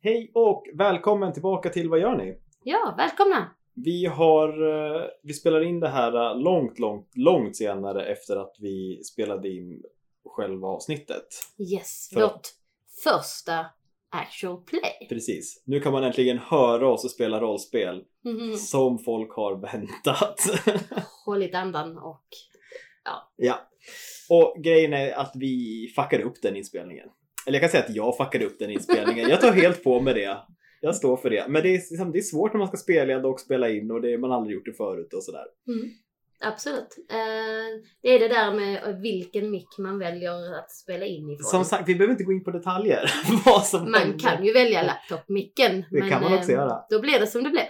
Hej och välkommen tillbaka till Vad gör ni? Ja, välkomna! Vi, har, eh, vi spelar in det här eh, långt, långt, långt senare efter att vi spelade in själva avsnittet. Yes, För- vårt första actual play. Precis. Nu kan man äntligen höra oss och spela rollspel Mm. Mhm. som folk har väntat. Håll lite andan och ja. Och grejen är att vi fuckade upp den inspelningen. Eller jag kan säga att jag fuckade upp den inspelningen. Jag tar helt på mig det. Jag står för det. Men det är, liksom, det är svårt när man ska spela och spela in och det, man har aldrig gjort det förut och sådär. absolut. Eh, det är det där med vilken mick man väljer att spela in ifrån. Som sagt, vi behöver inte gå in på detaljer. vad som man hände. kan ju välja laptopmicken. Det kan man också eh, göra. Då blir det som det blev.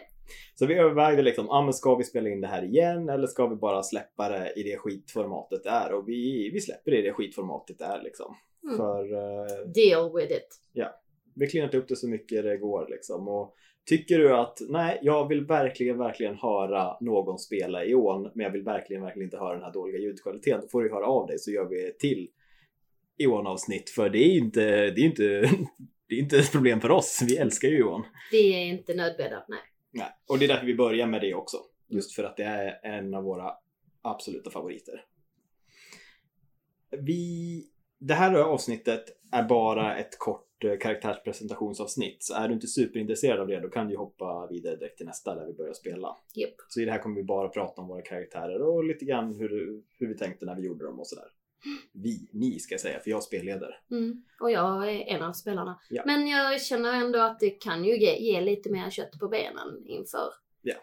Så vi övervägde liksom, ah, men ska vi spela in det här igen eller ska vi bara släppa det i det skitformatet det är? Och vi, vi släpper det i det skitformatet det är liksom. Mm. För eh, Deal with it. vi har cleanat upp det så mycket det går liksom. Och tycker du att, nej, jag vill verkligen, verkligen höra någon spela i ån, men jag vill verkligen, verkligen inte höra den här dåliga ljudkvaliteten, då får du höra av dig så gör vi ett till Johan-avsnitt. För det är ju inte, det är inte, det är inte ett problem för oss. Vi älskar ju Johan. Vi är inte nödbedda, nej. Nej, och det är därför vi börjar med det också. Just Mm. för att det är en av våra absoluta favoriter. Vi, det här avsnittet är bara ett kort eh, karaktärspresentationsavsnitt. Så är du inte superintresserad av det då kan du ju hoppa vidare direkt till nästa där vi börjar spela. Japp. Så i det här kommer vi bara prata om våra karaktärer och lite grann hur, hur vi tänkte när vi gjorde dem och sådär. Vi, ni ska jag säga, för jag spelleder. Mm. Och jag är en av spelarna. Ja. Men jag känner ändå att det kan ju ge, ge lite mer kött på benen inför Ja.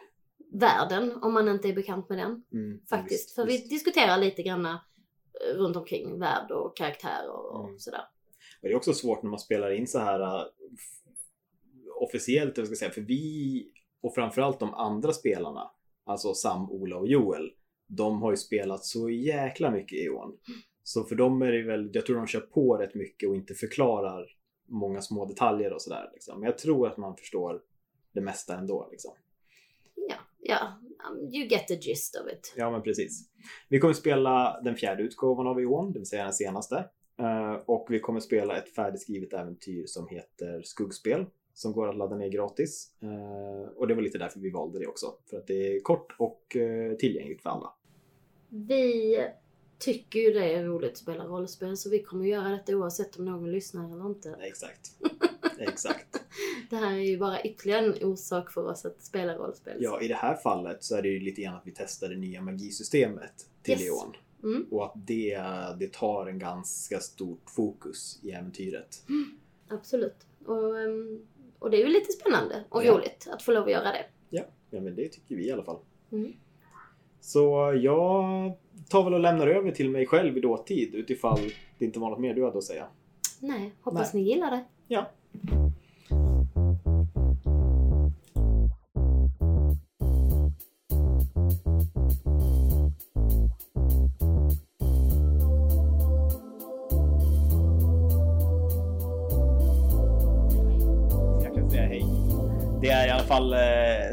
världen, om man inte är bekant med den. Mm, faktiskt. visst, för vi visst. diskuterar lite grann runt omkring värld och karaktärer och Mm. sådär. Men det är också svårt när man spelar in så här äh, f- officiellt, jag ska säga, för vi och framförallt de andra spelarna, alltså Sam, Ola och Joel, de har ju spelat så jäkla mycket i Eon. Så för dem är det väl, jag tror de kör på rätt mycket och inte förklarar många små detaljer och sådär. Liksom. Men jag tror att man förstår det mesta ändå. Liksom. Ja, ja. um, You get the gist of it. Ja, men precis. Vi kommer spela den fjärde utgåvan av Eon, det vill säga den senaste. Eh, Och vi kommer spela ett färdigskrivet äventyr som heter Skuggspel som går att ladda ner gratis. Eh, Och det var lite därför vi valde det också, för att det är kort och eh, tillgängligt för alla. Vi tycker ju det är roligt att spela rollspel så vi kommer göra detta oavsett om någon lyssnar eller inte. Exakt. Exakt. Det här är ju bara ytterligare en orsak för oss att spela rollspel. Ja, i det här fallet så är det ju lite grann att vi testar det nya magisystemet till Yes. Eon. Mm. Och att det, det tar en ganska stort fokus i äventyret. Absolut. Och, um, och det är ju lite spännande och Ja. roligt att få lov att göra det. Ja, men det tycker vi i alla fall. Mm. Så jag tar väl och lämnar över till mig själv i dåtid utifall det inte var något mer du hade att säga. Nej, hoppas ni gillar det. Ja. Jag kan säga hej. Det är i alla fall eh,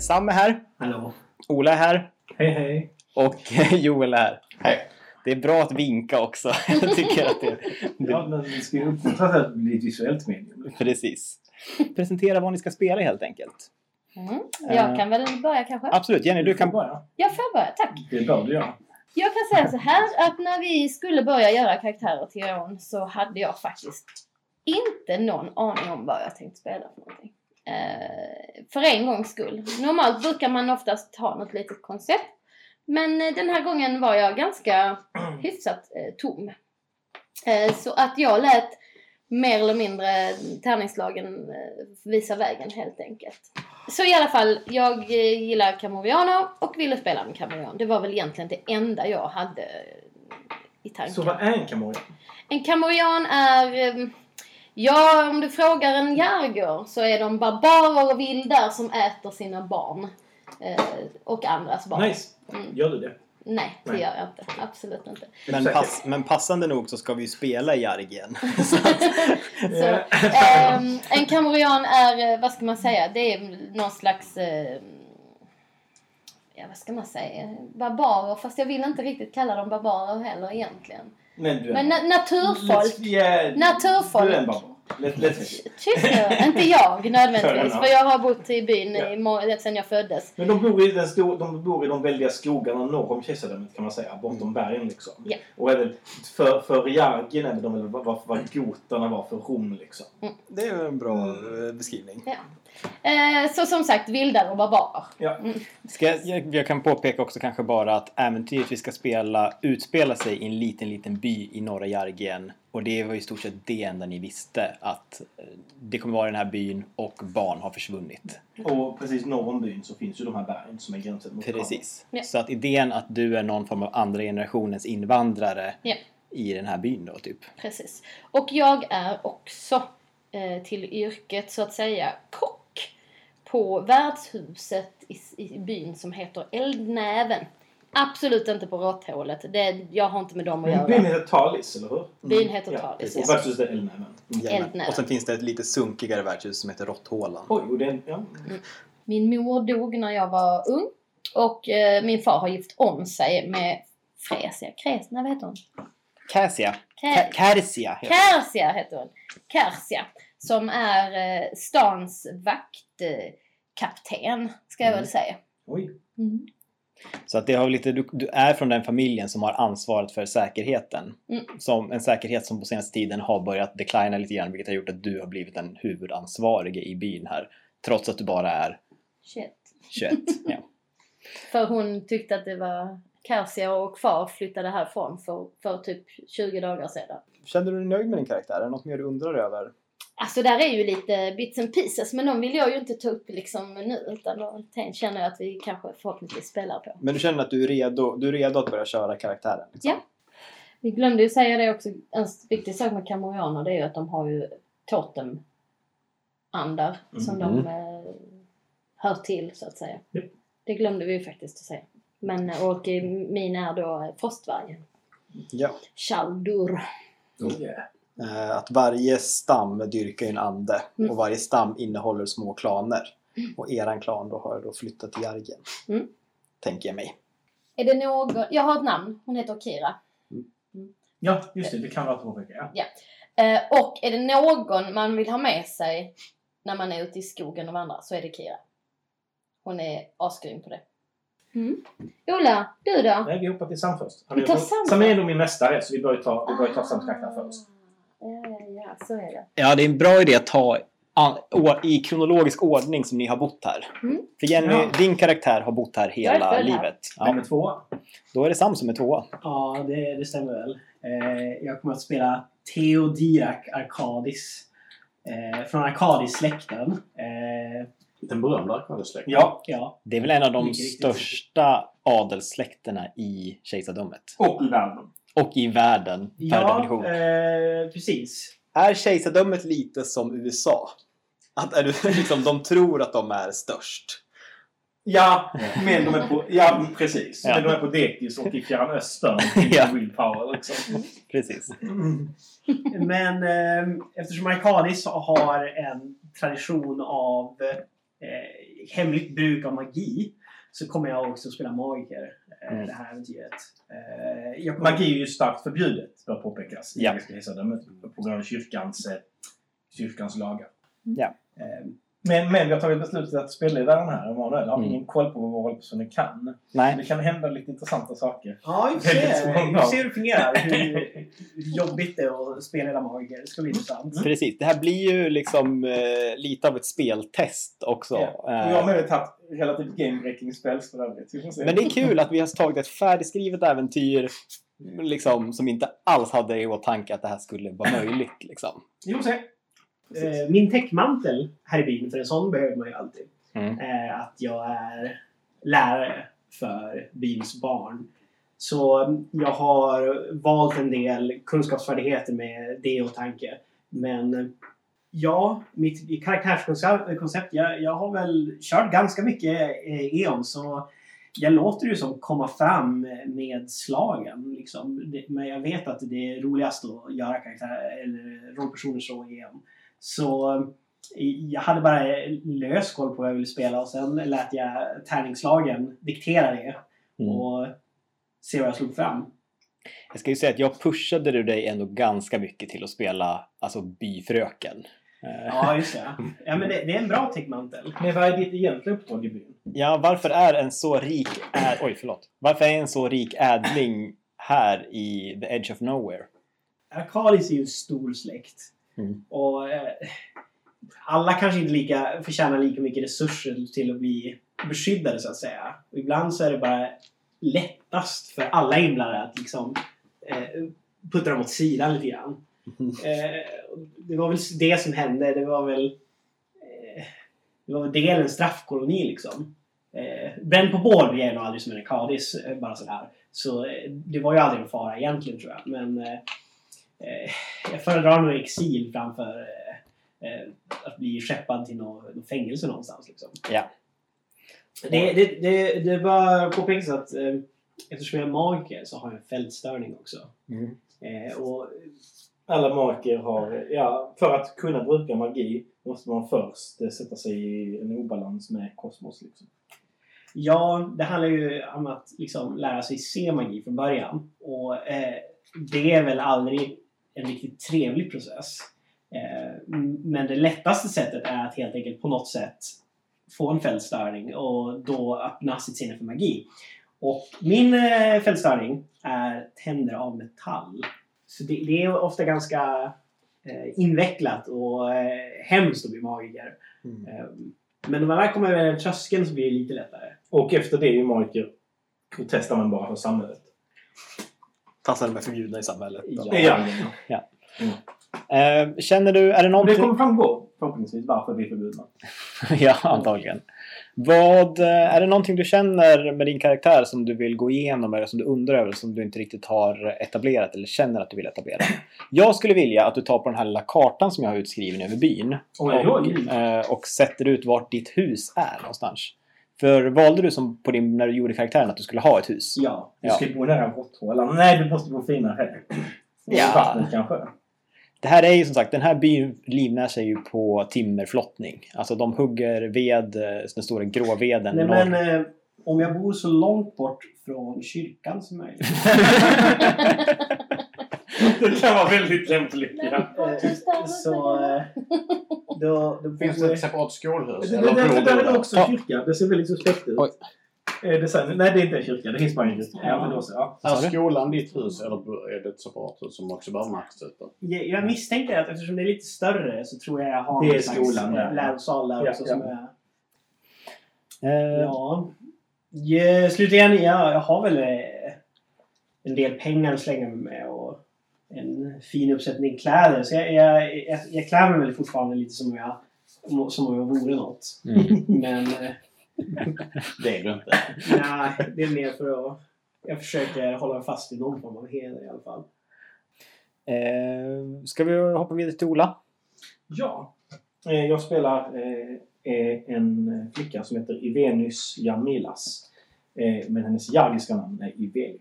Sam är här, Hallå. Ola är här Hej hej. och Joel är här. Hej. Det är bra att vinka också. Jag tycker att det, det, Ja, men vi ska ju uppmuntra till att bli ett visuellt medium. precis. Presentera vad ni ska spela helt enkelt. Mm. Eh. Jag kan väl börja kanske? Absolut, Jenny du Mm. kan... börja. Jag får börja, tack. Det bör du göra. Jag kan säga så här att när vi skulle börja göra karaktärer till Eon så hade jag faktiskt inte någon aning om vad jag tänkte spela för någonting. Eh, för en gångs skull. Normalt brukar man oftast ha något litet koncept. Men eh, den här gången var jag ganska hyfsat eh, tom. Eh, så att jag lät mer eller mindre tärningslagen eh, visa vägen helt enkelt. Så i alla fall, jag eh, gillar Camoriano och ville spela med Camoriano. Det var väl egentligen det enda jag hade i tanken. Så vad är en kamoj? En kamorian är... eh, Ja, om du frågar en järger så är de barbarer och vildar som äter sina barn. Eh, och andras barn. Nice. Mm. Gör du det? Nej, det Nej. gör jag inte. Absolut inte. Men, Säkert. pass, men passande nog så ska vi ju spela i Argen. Så, Eh, ehm, en kamorian är, eh, vad ska man säga, det är någon slags... Eh, ja, vad ska man säga? Barbarer, fast jag vill inte riktigt kalla dem barbarer heller egentligen. Men du är... Men na- naturfolk. Yeah. Naturfolk. Du är en barbar. Lätt, lätt. Tycker inte jag nödvändigtvis. Fair För jag har bott i byn Ja. i må- sedan jag föddes. Men de bor, i den stor, de bor i de väldiga skogarna norr om kejsardömet kan man säga, bortom bergen liksom. Mm. Ja. Och även för, för Jargen är väl de väl vad, vad, vad goterna var för Rom liksom. Det är ju en bra eh, beskrivning. Eh, så som sagt, vildare och barbarer. Ska jag, jag, jag kan påpeka också kanske bara att äventyret vi ska spela utspelar sig i en liten, liten by i norra Jargien. Och det var i stort sett det enda ni visste att eh, det kommer vara den här byn och barn har försvunnit. Mm. Och precis norr om byn så finns ju de här bergen som är gränsen mot Precis. Ja. Så att idén att du är någon form av andra generationens invandrare Ja. i den här byn då typ. Precis. Och jag är också eh, till yrket så att säga kock på värdshuset i, i byn som heter Eldnäven. Absolut inte på Råtthålet. Det, jag har inte med dem att Men göra. byn heter Talis, eller hur? Byn heter Ja, Talis. Och Ja. värdshuset är Elnäven. Mm. Jajamän. Eldnära. Och sen finns det ett lite sunkigare värdshus som heter Råtthålan. Oj, och det är... Ja. Min mor dog när jag var ung och eh, min far har gift om sig med Fresia. Kresna, vad heter hon? Käsia. Krä- Kärsia heter det. Kersia heter hon. Kersia. Som är eh, stans vaktkapten, ska jag Mm. väl säga. Oj. Mm. Så att det har lite, du, du är från den familjen som har ansvaret för säkerheten. Mm. Som, en säkerhet som på senaste tiden har börjat declina lite grann vilket har gjort att du har blivit den huvudansvarige i byn här. Trots att du bara är Shit. 21. ja. För hon tyckte att det var Kersia och far flyttade härifrån för, för typ 20 dagar sedan. Känner du dig nöjd med din karaktär? Är det något mer du undrar över? Alltså där är ju lite bits and pieces men de vill jag ju inte ta upp liksom nu utan de tän- känner jag att vi kanske förhoppningsvis spelar på. Men du känner att du är redo, du är redo att börja köra karaktären? Liksom. Ja. Vi glömde ju säga det också, en viktig sak med kamorianer det är ju att de har ju totemandar som de Mhm. eh, hör till så att säga. Ja. Det glömde vi ju faktiskt att säga. Men, och eh, min är då frostvärgen. Ja. Chaldur. Yeah. Eh, Att varje stam dyrkar ju en ande Mm. och varje stam innehåller små klaner. Och eran klan då har då flyttat till Jargen. Mm. Tänker jag mig. Är det någon... Jag har ett namn. Hon heter Kira. Ja, just det. Det kan vara att påpeka. Ja. Eh, och är det någon man vill ha med sig när man är ute i skogen och vandrar så är det Kira. Hon är asgrym på det. Mm. Ola, du då? Nej, vi hoppar till Sam först. Han är- Vi tar Ah. Sam Sam är först. då min mästare, så vi bör ju ta, vi bör ju ta Sams karaktär först. Ja, ja, ja, så är det. Ja, det är en bra idé att ta an- å- i kronologisk ordning som ni har bott här. Mm. För Jenny, Ja. din karaktär har bott här Jag är hela född här. livet. Vem Ja, är tvåa? då är det Sam som är tvåa. Ja, det, det stämmer väl. Eh, jag kommer att spela Theodiak Arkadis. Eh, från Arkadis-släkten. Eh, Den berömda arkadesläkten. Ja. ja, Det är väl en av de Mycket riktigt. största adelssläkterna i kejsardömet. Och Lärnum. Och i världen, per definition. ja eh, precis. Är kejsardömet lite som USA? Att är du, liksom, de tror att de är störst. Ja, men de är på... Ja, precis. Ja. Men de är på dekis och i Fjärran Östern. Ja. ja. Willpower liksom. Precis. Men eh, eftersom Arkadis har en tradition av eh, hemligt bruk av magi så kommer jag också spela magiker eh, Mm. det här äventyret. Eh, jag kommer- Magi är ju starkt förbjudet, bör påpekas. i Ja. Engelska Kejsardömet på grund av kyrkans, eh, kyrkans lagar. Ja. Eh, Men, men vi har tagit beslutet att spelledaren här, Emanuel, har Mm. ingen koll på vad vår rollpersoner kan. Men Nej. det kan hända lite intressanta saker. Ja, vi får se, Väldigt vi spontant. får se hur det fungerar. Hur, hur jobbigt det är att spela hela magiker. Det ska bli intressant. Precis, det här blir ju liksom eh, lite av ett speltest också. Ja. Eh, Och jag har möjligt haft relativt game-breaking spells för övrigt. Vi får se. Men det är kul att vi har tagit ett färdigskrivet äventyr liksom, som inte alls hade i åtanke att det här skulle vara möjligt. Liksom. Vi får se. Eh, min täckmantel här i byn, för en sån behöver man ju alltid. Mm. Eh, att jag är lärare för byns barn. Så mm, jag har valt en del kunskapsfärdigheter med det i åtanke. Men eh, ja, mitt karaktärskoncept, koncept, jag, jag har väl kört ganska mycket eh, E.ON så jag låter ju som komma fram med slagen. Liksom. Det, men jag vet att det är roligast att göra karaktär, eller rollpersoner så i E.ON. Så jag hade bara lös koll på vad jag ville spela och sen lät jag tärningslagen diktera det Mm. och se vad jag slog fram. Jag ska ju säga att jag pushade du dig ändå ganska mycket till att spela alltså byfröken. Eh, Ja, just det. Ja, men det, det är en bra täckmantel. Men vad är ditt egentliga uppdrag i byn? Ja, varför är en så rik... Ä- Oj, förlåt. Varför är en så rik ädling här i The Edge of Nowhere? Arkalis är ju en stor släkt. Mm. Och eh, alla kanske inte lika, förtjänar lika mycket resurser till att bli beskyddade så att säga. Och ibland så är det bara lättast för alla inblandade att liksom eh, puttra dem åt sidan lite grann. Eh, och det var väl det som hände. Det var väl eh, det var väl del en straffkoloni liksom. Eh, Bränn på bål blir jag nog aldrig som en arkadis, eh, bara sådär. Så eh, det var ju aldrig en fara egentligen tror jag. Men eh, eh, jag föredrar nog exil framför eh, eh, att bli skeppad till något nå fängelse någonstans. Liksom. Ja. Det, det, det, det bör påpekas att eh, eftersom jag är magiker så har jag en fältstörning också. Mm. Eh, och Alla magiker har, ja, för att kunna bruka magi måste man först eh, sätta sig i en obalans med kosmos. Liksom. Ja, det handlar ju om att liksom lära sig se magi från början. Och eh, det är väl aldrig en riktigt trevlig process. Eh, m- men det lättaste sättet är att helt enkelt på något sätt få en fältstörning och då öppna sitt sinne för magi. Och min eh, fältstörning är tänder av metall. Så det, det är ofta ganska eh, invecklat och eh, hemskt att bli magiker. Mm. Eh, men när man väl kommer över den tröskeln så blir det lite lättare. Och efter det är ju magiker groteskt användbara för samhället. Passar de är förbjudna i samhället. Ja. ja. Eh, känner du, är det Om det någonting... kommer framgå förhoppningsvis varför vi är förbjudna. ja, antagligen. Vad, eh, är det någonting du känner med din karaktär som du vill gå igenom eller som du undrar över som du inte riktigt har etablerat eller känner att du vill etablera? Jag skulle vilja att du tar på den här lilla kartan som jag har utskriven över byn Oj, oj, oj. eh, och sätter ut vart ditt hus är någonstans. För valde du som på din, när du gjorde karaktären att du skulle ha ett hus? Ja, du Ja. ska bo nära råtthålan. Nej, du måste bo finare. Ja. Vattnet kanske. Det här är ju som sagt, den här byn livnär sig ju på timmerflottning. Alltså de hugger ved, eh, den stora gråveden. Nej, norr- men eh, om jag bor så långt bort från kyrkan som möjligt. Det kan vara väldigt lämpligt. eh, så eh, då, då Finns det bor- ett separat skolhus? Det, det, det, där är också Ja. kyrka. Det ser väldigt suspekt ut. Oj. Eh, Det ser, nej, det är inte en kyrka. Det finns bara en kyrka. Ja, Ja. men då så. Ja. Vad sa Är alltså, du? skolan ditt hus eller är det ett separat hus som också bär Max ut då? jag, jag misstänker att eftersom det är lite större så tror jag jag har Det är någon slags, skolan eh, där. lärosal där Ja, också. ja. Som är, Eh, ja. Ja, slutligen, jag, jag har väl eh, en del pengar att slänga mig med och en fin uppsättning kläder. Så jag, jag, jag, jag klär mig väl fortfarande lite som om jag, som om jag vore något. Mm. Men eh, Det är du inte. Nej, det är mer för att... Jag försöker hålla fast vid någon form av heder i alla fall. Eh, ska vi hoppa vidare till Ola? ja. Eh, Jag spelar eh, eh, en flicka som heter Ivenus Jamilas. Eh, Men hennes jagiska namn är Ivelia.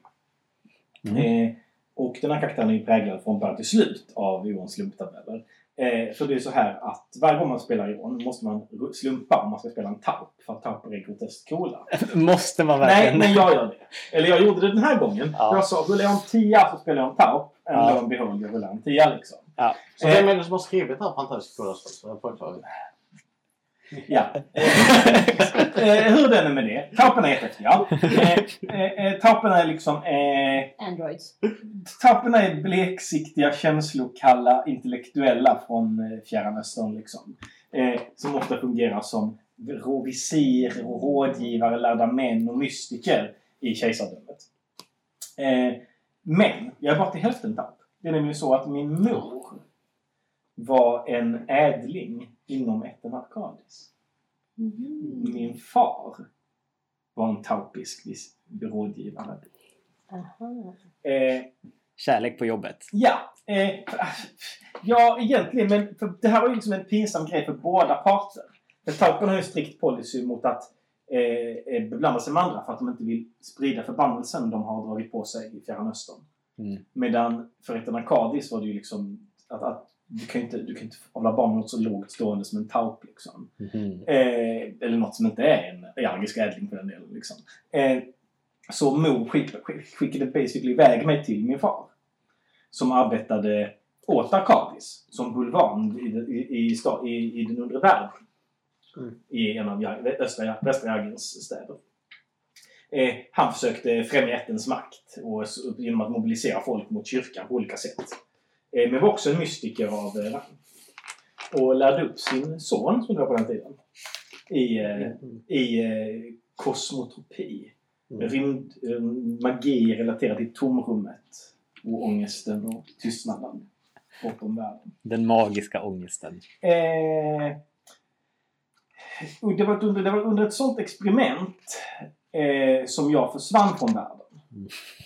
Mm. Eh, Och den här karaktären är ju präglad från början till slut av Johans slumptabeller. Eh, För det är så här att varje gång man spelar Johan måste man ru- slumpa om man ska spela en taup. För att tauper är groteskt coola. Måste man Nej, verkligen? men jag gör det. Eller jag gjorde det den här gången. Ja. Jag sa rullar jag en tia så spelar jag en taup. Eller Ja. ja. en behold, jag rullar en tia liksom. Så Eh. vem är det som har skrivit det här fantastiska kodavsfallet? Ja. eh, hur den är med det. Tauperna är jättehäftiga. Eh, eh, eh, tauperna är liksom... Eh, Androids. tauperna är bleksiktiga, känslokalla, intellektuella från eh, Fjärran Östern liksom. Eh, som ofta fungerar som råvisir, och rådgivare, lärda män och mystiker i kejsardömet. Eh, men jag är bara till hälften tapp. Det är nämligen så att min mor var en ädling inom ätten Arkadis. Mhm. Min far var en taupisk vis- rådgivare. Aha. Eh, Kärlek på jobbet. Ja, eh, ja, egentligen, men för det här var ju liksom en pinsam grej för båda parter. För Taupen har ju en strikt policy mot att eh, eh, beblanda sig med andra för att de inte vill sprida förbannelsen de har dragit på sig i Fjärran Östern. Mm. Medan för ett Arkadis var det ju liksom att, att du kan ju inte, du kan inte hålla barn något så lågt stående som en taup liksom. Eh, eller något som inte är en allergisk ädling för den delen. Liksom. Eh, Så Mo skick, skick- skickade basically iväg mig till min far. Som arbetade åt Arkadis. Som bulvan i, i, i, sta- i, i den undre världen. I en av Jag- östra, västra Jagins städer. Eh, han försökte främja ättens makt och, s- genom att mobilisera folk mot kyrkan på olika sätt. Eh, men var också en mystiker av eh, rang. Och lärde upp sin son, som det var på den tiden, i, eh, i eh, kosmotropi. Mm. Rymd, eh, magi relaterad till tomrummet och ångesten och tystnaden bortom världen. Den magiska ångesten. Eh, och det, var under, det var under ett sånt experiment eh, som jag försvann från världen.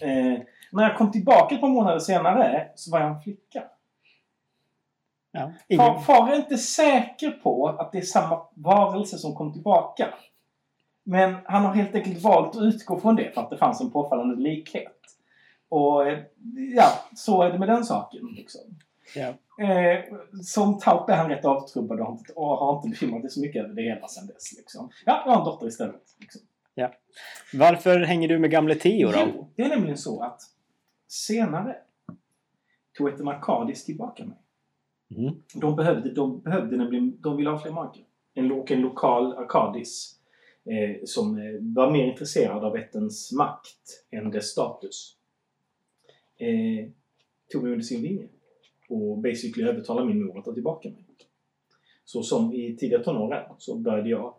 Eh, när jag kom tillbaka ett par månader senare så var jag en flicka. Ja, Far, ingen, far är inte säker på att det är samma varelse som kom tillbaka. Men han har helt enkelt valt att utgå från det för att det fanns en påfallande likhet. Och eh, ja, så är det med den saken. Liksom. ja. Eh, som taup är han rätt avtrubbad och har inte, och har inte bekymrat sig så mycket över det hela sedan dess. Liksom. Ja, jag har en dotter istället. Liksom. Varför hänger du med gamle Theo då? Jo, det är nämligen så att senare tog ett Makadis tillbaka mig. Mm. De behövde, de behövde nämligen, de ville ha fler magiker. En, lo- en lokal Arkadis eh, som eh, var mer intresserad av ättens makt än dess status. Eh, tog mig under sin vinge och basically övertalade min mor att ta tillbaka mig. Så som i tidiga tonåren så började jag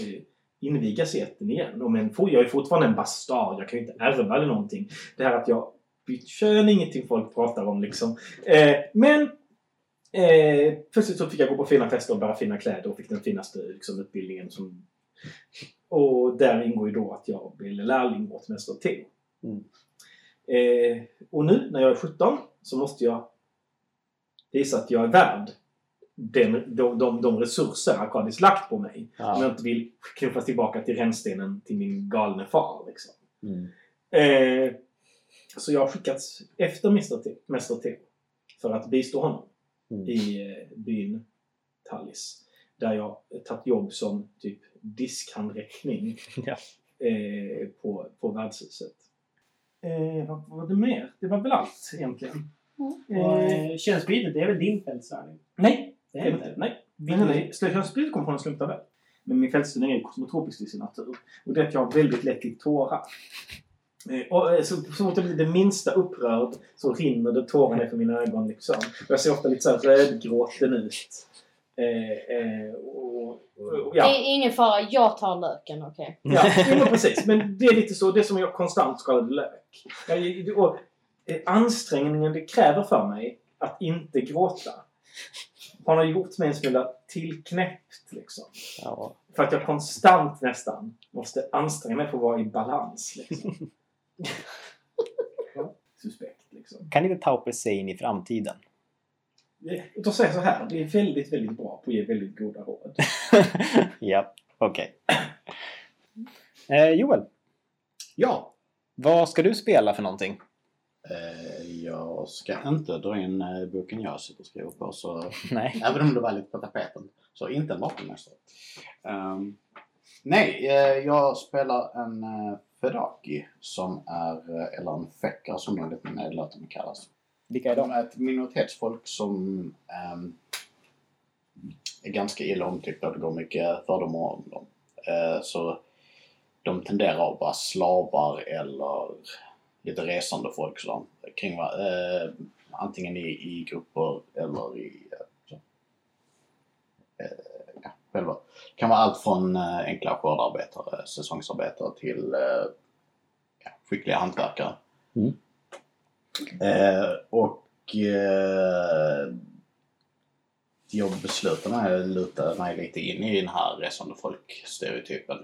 eh, invigas i ätten igen. Och men for- jag är fortfarande en bastard, jag kan ju inte ärva eller någonting. Det här att jag bytt kön är ingenting folk pratar om liksom. Eh, men Eh, plötsligt så fick jag gå på fina fester och bära fina kläder och fick den finaste liksom, utbildningen. Som... Och där ingår ju då att jag blev lärling åt Mäster Theo. Mm. Eh, och nu när jag är 17 så måste jag visa att jag är värd den, de, de, de resurser Arkadis lagt på mig. Om jag inte vill knuffas tillbaka till rännstenen till min galne far. Liksom. Mm. Eh, så jag har skickats efter Mäster Theo- Mäster Theo för att bistå honom Mm. i eh, byn Tallis. Där jag tagit jobb som typ diskhandräckning Ja. eh, på, på värdshuset. Eh, vad vad var det mer? Det var väl allt egentligen. Och, Eh, eh, könsbytet, det är väl din fältsvärning? nej, Det det är är inte. inte. Nej. Könsbytet kommer från en slumptabell. Men min fältstudie är kosmotropisk i sin natur. Och det är att jag har väldigt lätt till tårar. Eh, Och eh, så, så fort jag blir det minsta upprörd så rinner det tårar ner för mina ögon. Liksom. Och Jag ser ofta lite så här rödgråten ut. Eh, eh, och, och, och, ja. Det är ingen fara, jag tar löken, okej? Ja, jo, men precis. Men det är lite så, det är som jag konstant skalade lök. Jag, och, eh, ansträngningen det kräver för mig att inte gråta har nog gjort mig en smula tillknäppt liksom. Ja. För att jag konstant nästan måste anstränga mig för att vara i balans liksom. Ja, Suspekt liksom. Kan inte Taupe se in i framtiden? Då säger jag så här, det är väldigt, väldigt bra på att ge väldigt goda råd. ja, okej. Eh, Joel, Ja. vad ska du spela för någonting? Eh, Jag ska inte dra in eh, boken jag sitter och skriver på så Nej. Även om det var lite på tapeten. Så inte en vapenmästare. Ehm, nej, eh, jag spelar en uh, Fedaki som är, eh, eller en Feckar som de lite nedlåtande kallas. Vilka är De de? är ett minoritetsfolk som ehm, är ganska illa omtyckta och det går mycket fördomar om dem. Eh, så de tenderar att vara slavar eller lite resande folk som kring, va- eh, antingen i, i grupper eller i eh, så. Eh, ja, själva. Det kan vara allt från eh, enkla skördarbetare, säsongsarbetare till eh, ja, skickliga hantverkare. Mm. Eh, och eh, jag beslutade mig, jag lutade mig lite in i den här resande folk-stereotypen.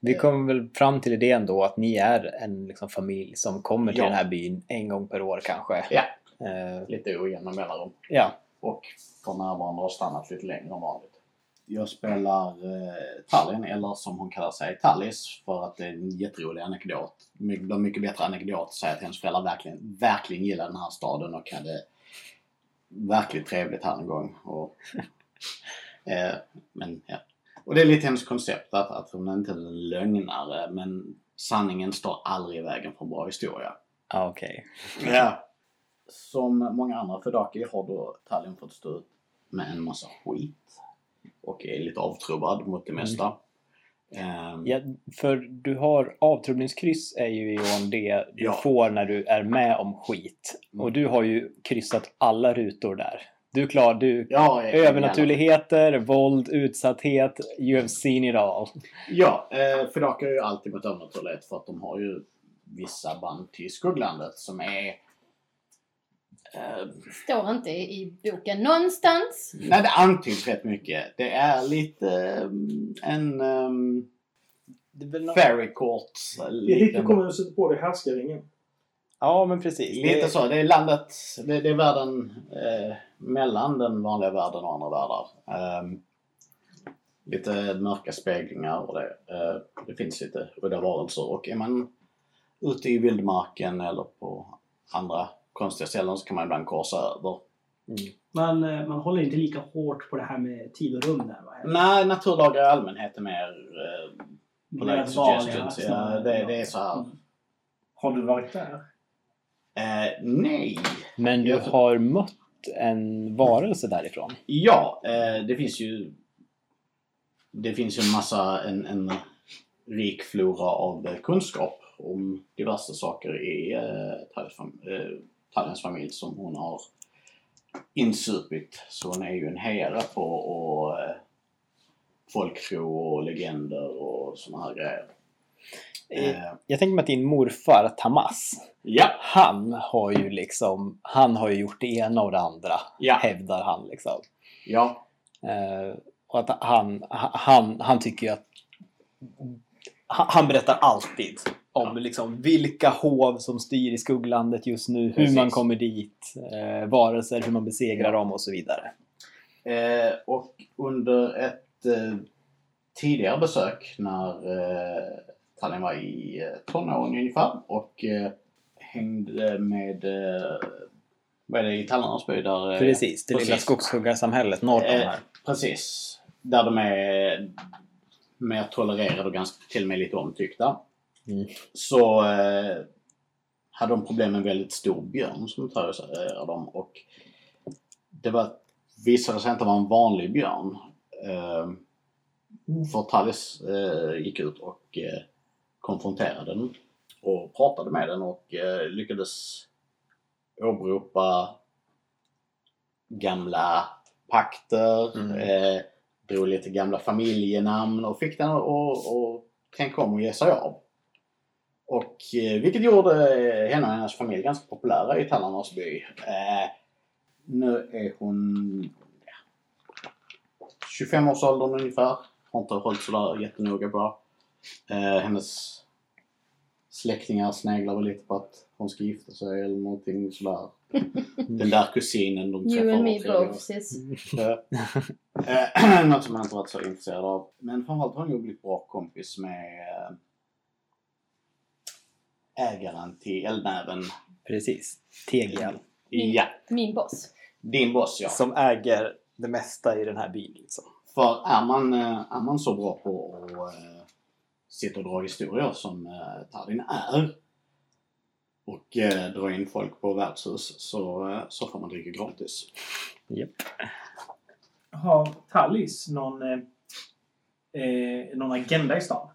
Vi kom väl fram till idén då att ni är en liksom, familj som kommer till Ja. den här byn en gång per år kanske. Ja. Eh, Lite ojämna mellanrum. ja. och för närvarande har stannat lite längre än vanligt. Jag spelar eh, Tallinn, eller som hon kallar sig, Tallis, för att det är en jätterolig anekdot. My- Det är mycket bättre anekdot att säga att hennes föräldrar verkligen, verkligen gillar den här staden och hade verkligt trevligt här en gång. Och, eh, men, ja. och det är lite hennes koncept, att, att hon är inte är en lögnare, men sanningen står aldrig i vägen för en bra historia. Ah, Okej. Ja. Som många andra fördaker har då Talion fått stå ut med en massa skit. Och är lite avtrubbad mot det mesta. Ehm, Ja, för du har avtrubbningskryss är ju Johan det du Ja. Mm. får när du är med om skit. Och du har ju kryssat alla rutor där. Du är klar, du... ja, jag- Övernaturligheter, våld, utsatthet, you have seen it all. Ja, eh, fördaker är ju alltid mot övernaturlighet för att de har ju vissa band till skugglandet som är... Eh, Står inte i boken någonstans. nej, det antyds rätt mycket. Det är lite eh, en... Um, Fairy court. Det är dit du liten- kommer att sätta på dig härskaringen. Ja, men precis. Lite så. Det är landet, det, det är världen eh, mellan den vanliga världen och andra världar. Ehm, lite mörka speglingar och det. Eh, det finns lite udda varelser och är man ute i vildmarken eller på andra konstiga ställen så kan man ibland korsa över. Man, eh, man håller inte lika hårt på det här med tid och rum där va? Nej, naturlagar i allmänhet är mer eh, Mer polite vanliga, suggestions. snarare. Ja, det, det är så här. Mm. Har du varit där? Eh, nej! Men du har mött en varelse därifrån. Ja, eh, det finns ju... Det finns ju en massa, en, en rik flora av eh, kunskap om diverse saker i eh, Talions fam- eh, Talions familj som hon har insupit. Så hon är ju en hejare på och, eh, folktro och legender och såna här grejer. Eh, Jag tänker mig att din morfar Tamas, ja, han har ju liksom, han har ju gjort det ena och det andra, Ja. hävdar han liksom. ja, Eh, och att han, han, han tycker ju att... Han, han berättar alltid om liksom vilka hov som styr i skugglandet just nu, hur Precis. man kommer dit, eh, varelser, hur man besegrar dem och så vidare. Eh, och under ett eh, tidigare besök när eh, Tallinn var i eh, tonåren ungefär och eh, hängde med, eh, vad är det, i Tallarnas by där? eh, Precis, det lilla precis. skogshuggarsamhället norr om Eh, här. Precis. Där de är mer tolererade och ganska, till och med lite omtyckta. Mm. Så eh, hade de problem med en väldigt stor björn som terroriserade dem. Och det var, visade sig inte vara en vanlig björn. Eh, Mm. för Tallis eh, gick ut och eh, konfronterade den och pratade med den och eh, lyckades åberopa gamla pakter, Mm. eh, drog lite gamla familjenamn och fick den att och, och tänka om och ge sig av. Och, eh, vilket gjorde eh, henne och hennes familj ganska populära i Tallarnas by. Eh, nu är hon ja, 25-årsåldern ungefär. Har inte hållit sådär jättenoga på. Eh, hennes släktingar sneglar väl lite på att hon ska gifta sig eller någonting sådär. Den där kusinen de träffar You and var me tredje år. both sis. Ja. Eh, Något som jag inte varit så intresserad av. Men framförallt har hon ju blivit bra kompis med eh, ägaren till Eldnäven. Precis, Tegian. Ja, Min boss. din boss ja. Som äger det mesta i den här byn. Liksom. För är man, eh, är man så bra på att eh, sitta och dra historier som eh, Tardin är och eh, dra in folk på värdshus så, eh, så får man dricka gratis. Har Tallis någon, eh, eh, någon agenda i stan?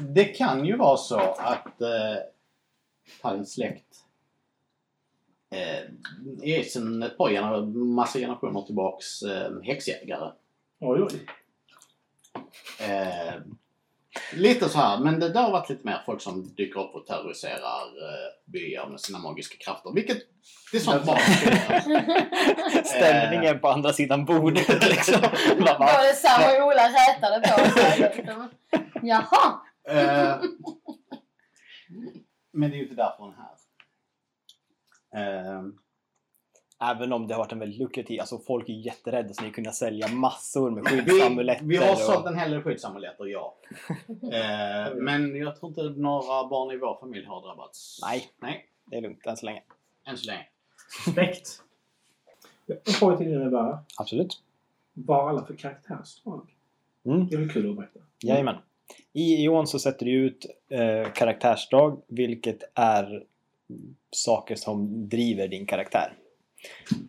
Det kan ju vara så att eh, Tallins släkt eh, är sedan ett par gener- massa generationer tillbaks eh, häxjägare. Oj, oj. Eh, lite så här, men det där har varit lite mer folk som dyker upp och terroriserar eh, byar med sina magiska krafter. Vilket, det är sånt bara Eh. Stämningen på andra sidan bordet liksom. Man bara, Både Sam och Ola rätade på sig. liksom. Jaha! Eh, Men det är ju inte därför hon är här. Eh, Även om det har varit en väldigt lukrativ, alltså folk är jätterädda så ni kunde sälja massor med Vi, skyddsamuletter. vi har sålt och... en hel del skyddsamuletter, ja. eh, men jag tror inte några barn i vår familj har drabbats. Nej. Nej, Det är lugnt än så länge. än så länge. Respekt. Jag har en fråga till dig bara. Absolut. Vad har alla för karaktärsdrag? Mm. Det är väl kul att berätta. Jajamän. I Ion så sätter du ut eh, karaktärsdrag, vilket är saker som driver din karaktär.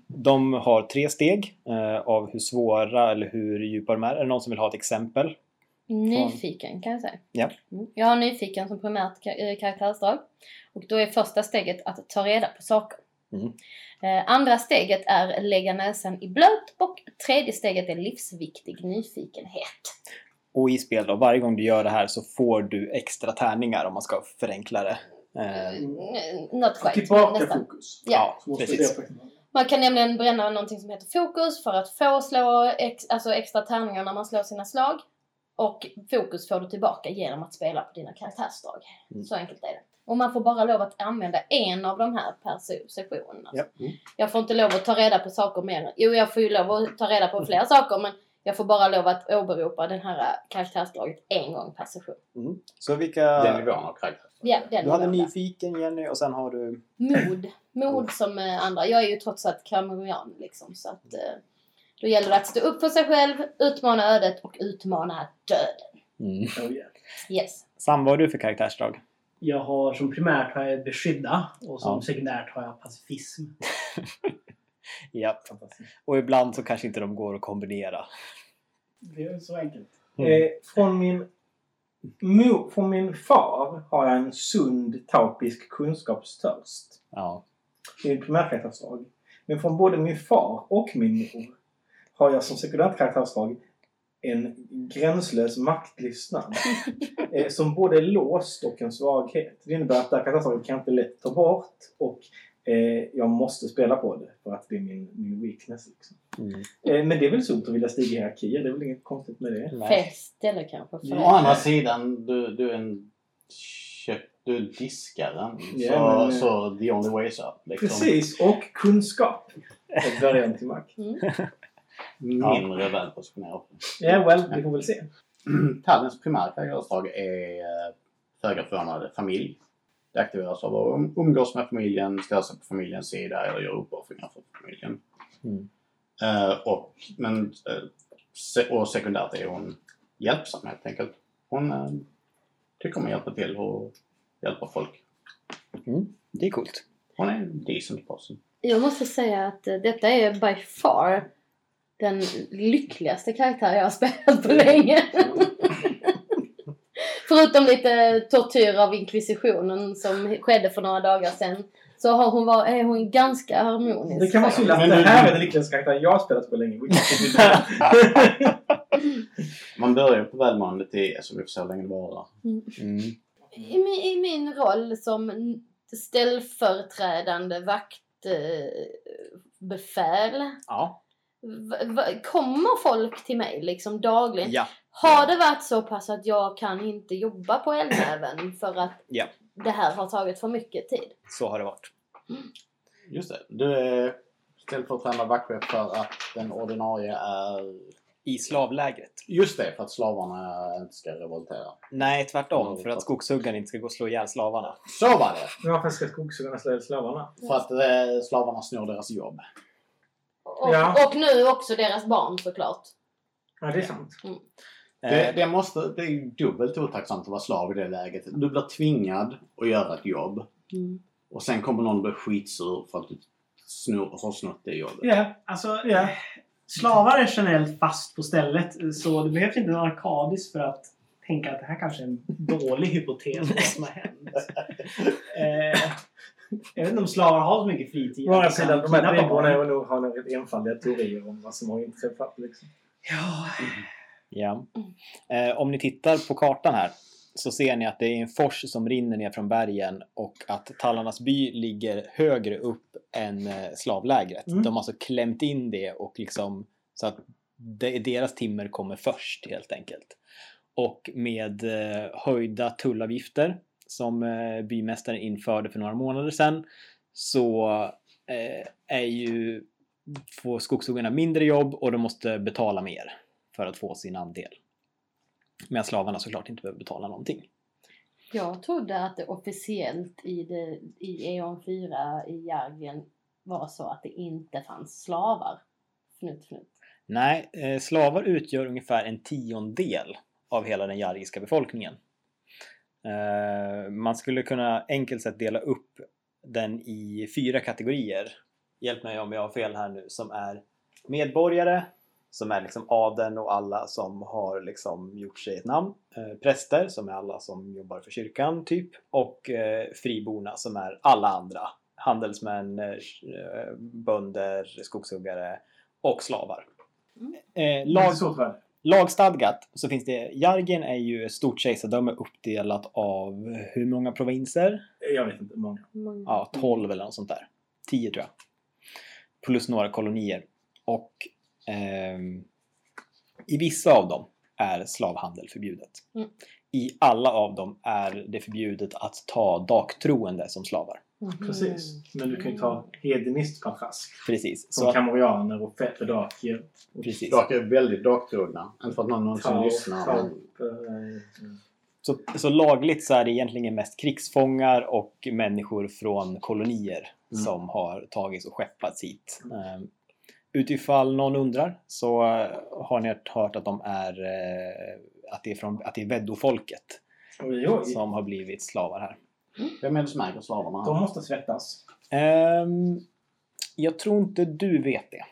De har tre steg eh, av hur svåra eller hur djupa de är. Är det någon som vill ha ett exempel? Nyfiken kan jag säga. Ja. Mm. Jag har nyfiken som primärt ka- eh, karaktärsdrag. Och då är första steget att ta reda på saker. Mm. Eh, andra steget är lägga näsan i blöt och tredje steget är livsviktig nyfikenhet. Och i spel då, varje gång du gör det här så får du extra tärningar om man ska förenkla det. Eh, Mm. Något skit. men Tillbaka nästan. fokus. Ja. Så måste precis. det- Man kan nämligen bränna någonting som heter fokus för att få slå ex, alltså extra tärningar när man slår sina slag. Och fokus får du tillbaka genom att spela på dina karaktärsdrag. Mm. Så enkelt är det. Och man får bara lov att använda en av de här per se- session. Alltså. Ja. Mm. Jag får inte lov att ta reda på saker mer. Jo, jag får ju lov att ta reda på fler saker men jag får bara lov att åberopa det här karaktärsdraget en gång per session. Så vilka... Den nivån av karaktär. Ja, den Du hade nivån där. nyfiken Jenny och sen har du... mod. Mod som eh, andra. Jag är ju trots allt kameran liksom. Så att, eh, då gäller det att stå upp för sig själv, utmana ödet och utmana döden. Mm. Oh, yeah. Yes. Sam, vad har du för karaktärsdrag? Jag har som primärt har jag beskydda och som Ja. sekundärt har jag pacifism. Ja. Och ibland så kanske inte de går att kombinera. Det är så enkelt. Mm. Eh, från, min, mo, från min far har jag en sund taupisk kunskapstörst. Ja. min primärkaraktärsdrag. Men från både min far och min mor har jag som sekundärt karaktärsdrag en gränslös maktlystnad. eh, som både är låst och en svaghet. Det innebär att det här karaktärsdraget kan jag inte lätt ta bort och eh, jag måste spela på det för att det är min, min weakness. Liksom. Mm. Eh, men det är väl sunt att vilja stiga i hierarkier, det är väl inget konstigt med Liksom. det. Fel ställe kanske. För Å andra sidan, du, du är en köp, du är diskaren. Ja, men- så, så the only way is up. Liksom. Precis, och kunskap. Och början till makt. Mindre välpositionerad. Ja, well, vi får väl se. Tallens primära karaktärsdrag är eh, föga förvånande familj. Det aktiveras av att um- umgås med familjen, ställa sig på familjens sida eller göra uppoffringar för familjen. Mm. Eh, och, men, eh, se- och sekundärt är hon hjälpsam helt enkelt. Hon eh, tycker om att hjälpa till och hjälpa folk. Det är coolt. Hon är en decent person. Jag måste säga att eh, detta är by far den lyckligaste karaktär jag har spelat på länge. Förutom lite tortyr av inkvisitionen som skedde för några dagar sedan. Så har hon var, är hon ganska harmonisk. Det kan vara synd att Men det du- här är den lyckligaste karaktären jag har spelat på länge. Man börjar på välmåendet i, som vi får se hur länge det varar. I min, I min roll som n- ställföreträdande vaktbefäl Ja. v- v- kommer folk till mig liksom dagligen. ja. Har det varit så pass att jag kan inte jobba på Eldnäven för att Ja. det här har tagit för mycket tid? Så har det varit. Just det. Du är ställföreträdande vaktchef för att den ordinarie är I slavlägret? Just det, för att slavarna inte ska revoltera. Nej, tvärtom. Mm. För att skogshuggaren inte ska gå och slå ihjäl slavarna. Så var det! Varför ska skogshuggarna slå ihjäl slavarna? För att eh, slavarna snor deras jobb. Och, Ja. och nu också deras barn såklart. Ja, det är sant. Det, Eh, det, måste, det är ju dubbelt otacksamt att vara slav i det läget. Du blir tvingad att göra ett jobb Mm. och sen kommer någon bli skitsur för att du snor, har snott det jobbet. Ja, Alltså, eh, slavar är generellt fast på stället så det behövs inte en arkadis för att tänka att det här kanske är en dålig hypotes om vad som har hänt. Eh, jag vet inte om slavar har så mycket fritid. Å andra att de kan sidan, de här kidnappa bribborna barn. har nog har nog rätt enfaldiga teorier om vad som har inträffat. Liksom. Ja, ja. eh, om ni tittar på kartan här så ser ni att det är en fors som rinner ner från bergen och att Tallarnas by ligger högre upp än eh, slavlägret. Mm. De har alltså klämt in det och liksom så att det, deras timmer kommer först helt enkelt. Och med eh, höjda tullavgifter som eh, bymästaren införde för några månader sedan så eh, är ju får skogshuggarna mindre jobb och de måste betala mer för att få sin andel. Medan slavarna såklart inte behöver betala någonting. Jag trodde att det officiellt i, det, i E Eon 4 i Järgen var så att det inte fanns slavar. Fnutt, fnutt. Nej, eh, slavar utgör ungefär en tiondel av hela den jargiska befolkningen. Eh, Man skulle kunna enkelt sett dela upp den i fyra kategorier. Hjälp mig om jag har fel här nu. Som är medborgare, som är liksom adeln och alla som har liksom gjort sig ett namn. Eh, Präster, som är alla som jobbar för kyrkan, typ. Och eh, friborna, som är alla andra. Handelsmän, eh, bönder, skogshuggare och slavar. Mm. Eh, Det är lag, så tror jag. Lagstadgat så finns det, Jargen är ju ett stort kejsardöme uppdelat av hur många provinser? Jag vet inte hur många. Många. Ja, 12 eller något sånt där. 10 tror jag. Plus några kolonier. Och ehm, i vissa av dem är slavhandel förbjudet. Mm. I alla av dem är det förbjudet att ta dagtroende som slavar. Mm. Precis. Men du kan ju ta hedonistiskt kontrask. Precis. Som Så att, kamorianer och fettredakier. precis. Drak är väldigt dagtrogna. Inte för att någon någonsin lyssnar. men- eh, Så, så lagligt så är det egentligen mest krigsfångar och människor från kolonier Mm. som har tagits och skeppats hit. Um, utifall någon undrar så eh, har ni hört att de är eh, att det är, från, att det är veddofolket Oj, oj. som har blivit slavar här. Vem är det som äger slavarna? De måste svettas. Ehm, jag tror inte du vet det,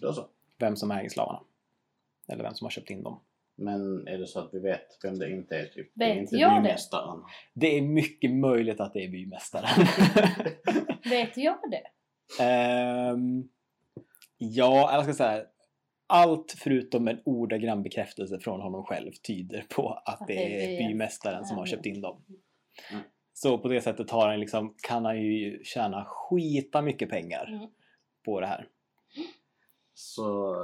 Då så. vem som äger slavarna. Eller vem som har köpt in dem. Men är det så att vi vet vem det inte är? Typ? det Vet är inte jag det? bymästaren. Det är mycket möjligt att det är bymästaren. Vet jag det? Ehm, ja, jag ska säga allt förutom en ordagrann bekräftelse från honom själv tyder på att, det är bymästaren som har köpt in dem. Mm. Så på det sättet har han liksom, kan han ju tjäna skita mycket pengar Mm. på det här. Så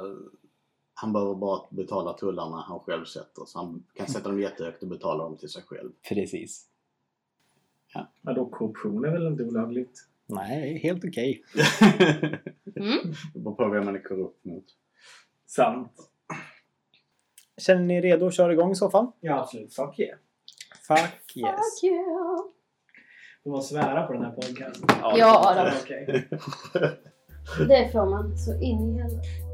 han behöver bara betala tullarna han själv sätter. Så han kan sätta dem jättehögt och betala dem till sig själv. Precis. Vadå, korruption är väl inte olagligt? Nej, det är helt okej. Mm. Det beror på vem man är korrupt mot. Sant. Känner ni er redo att köra igång i så fall? Ja, absolut. Fuck yeah. Fuck yes. Fuck you. Du måste svära på den här podcasten. Ja, Okej. det får man så in i helvete.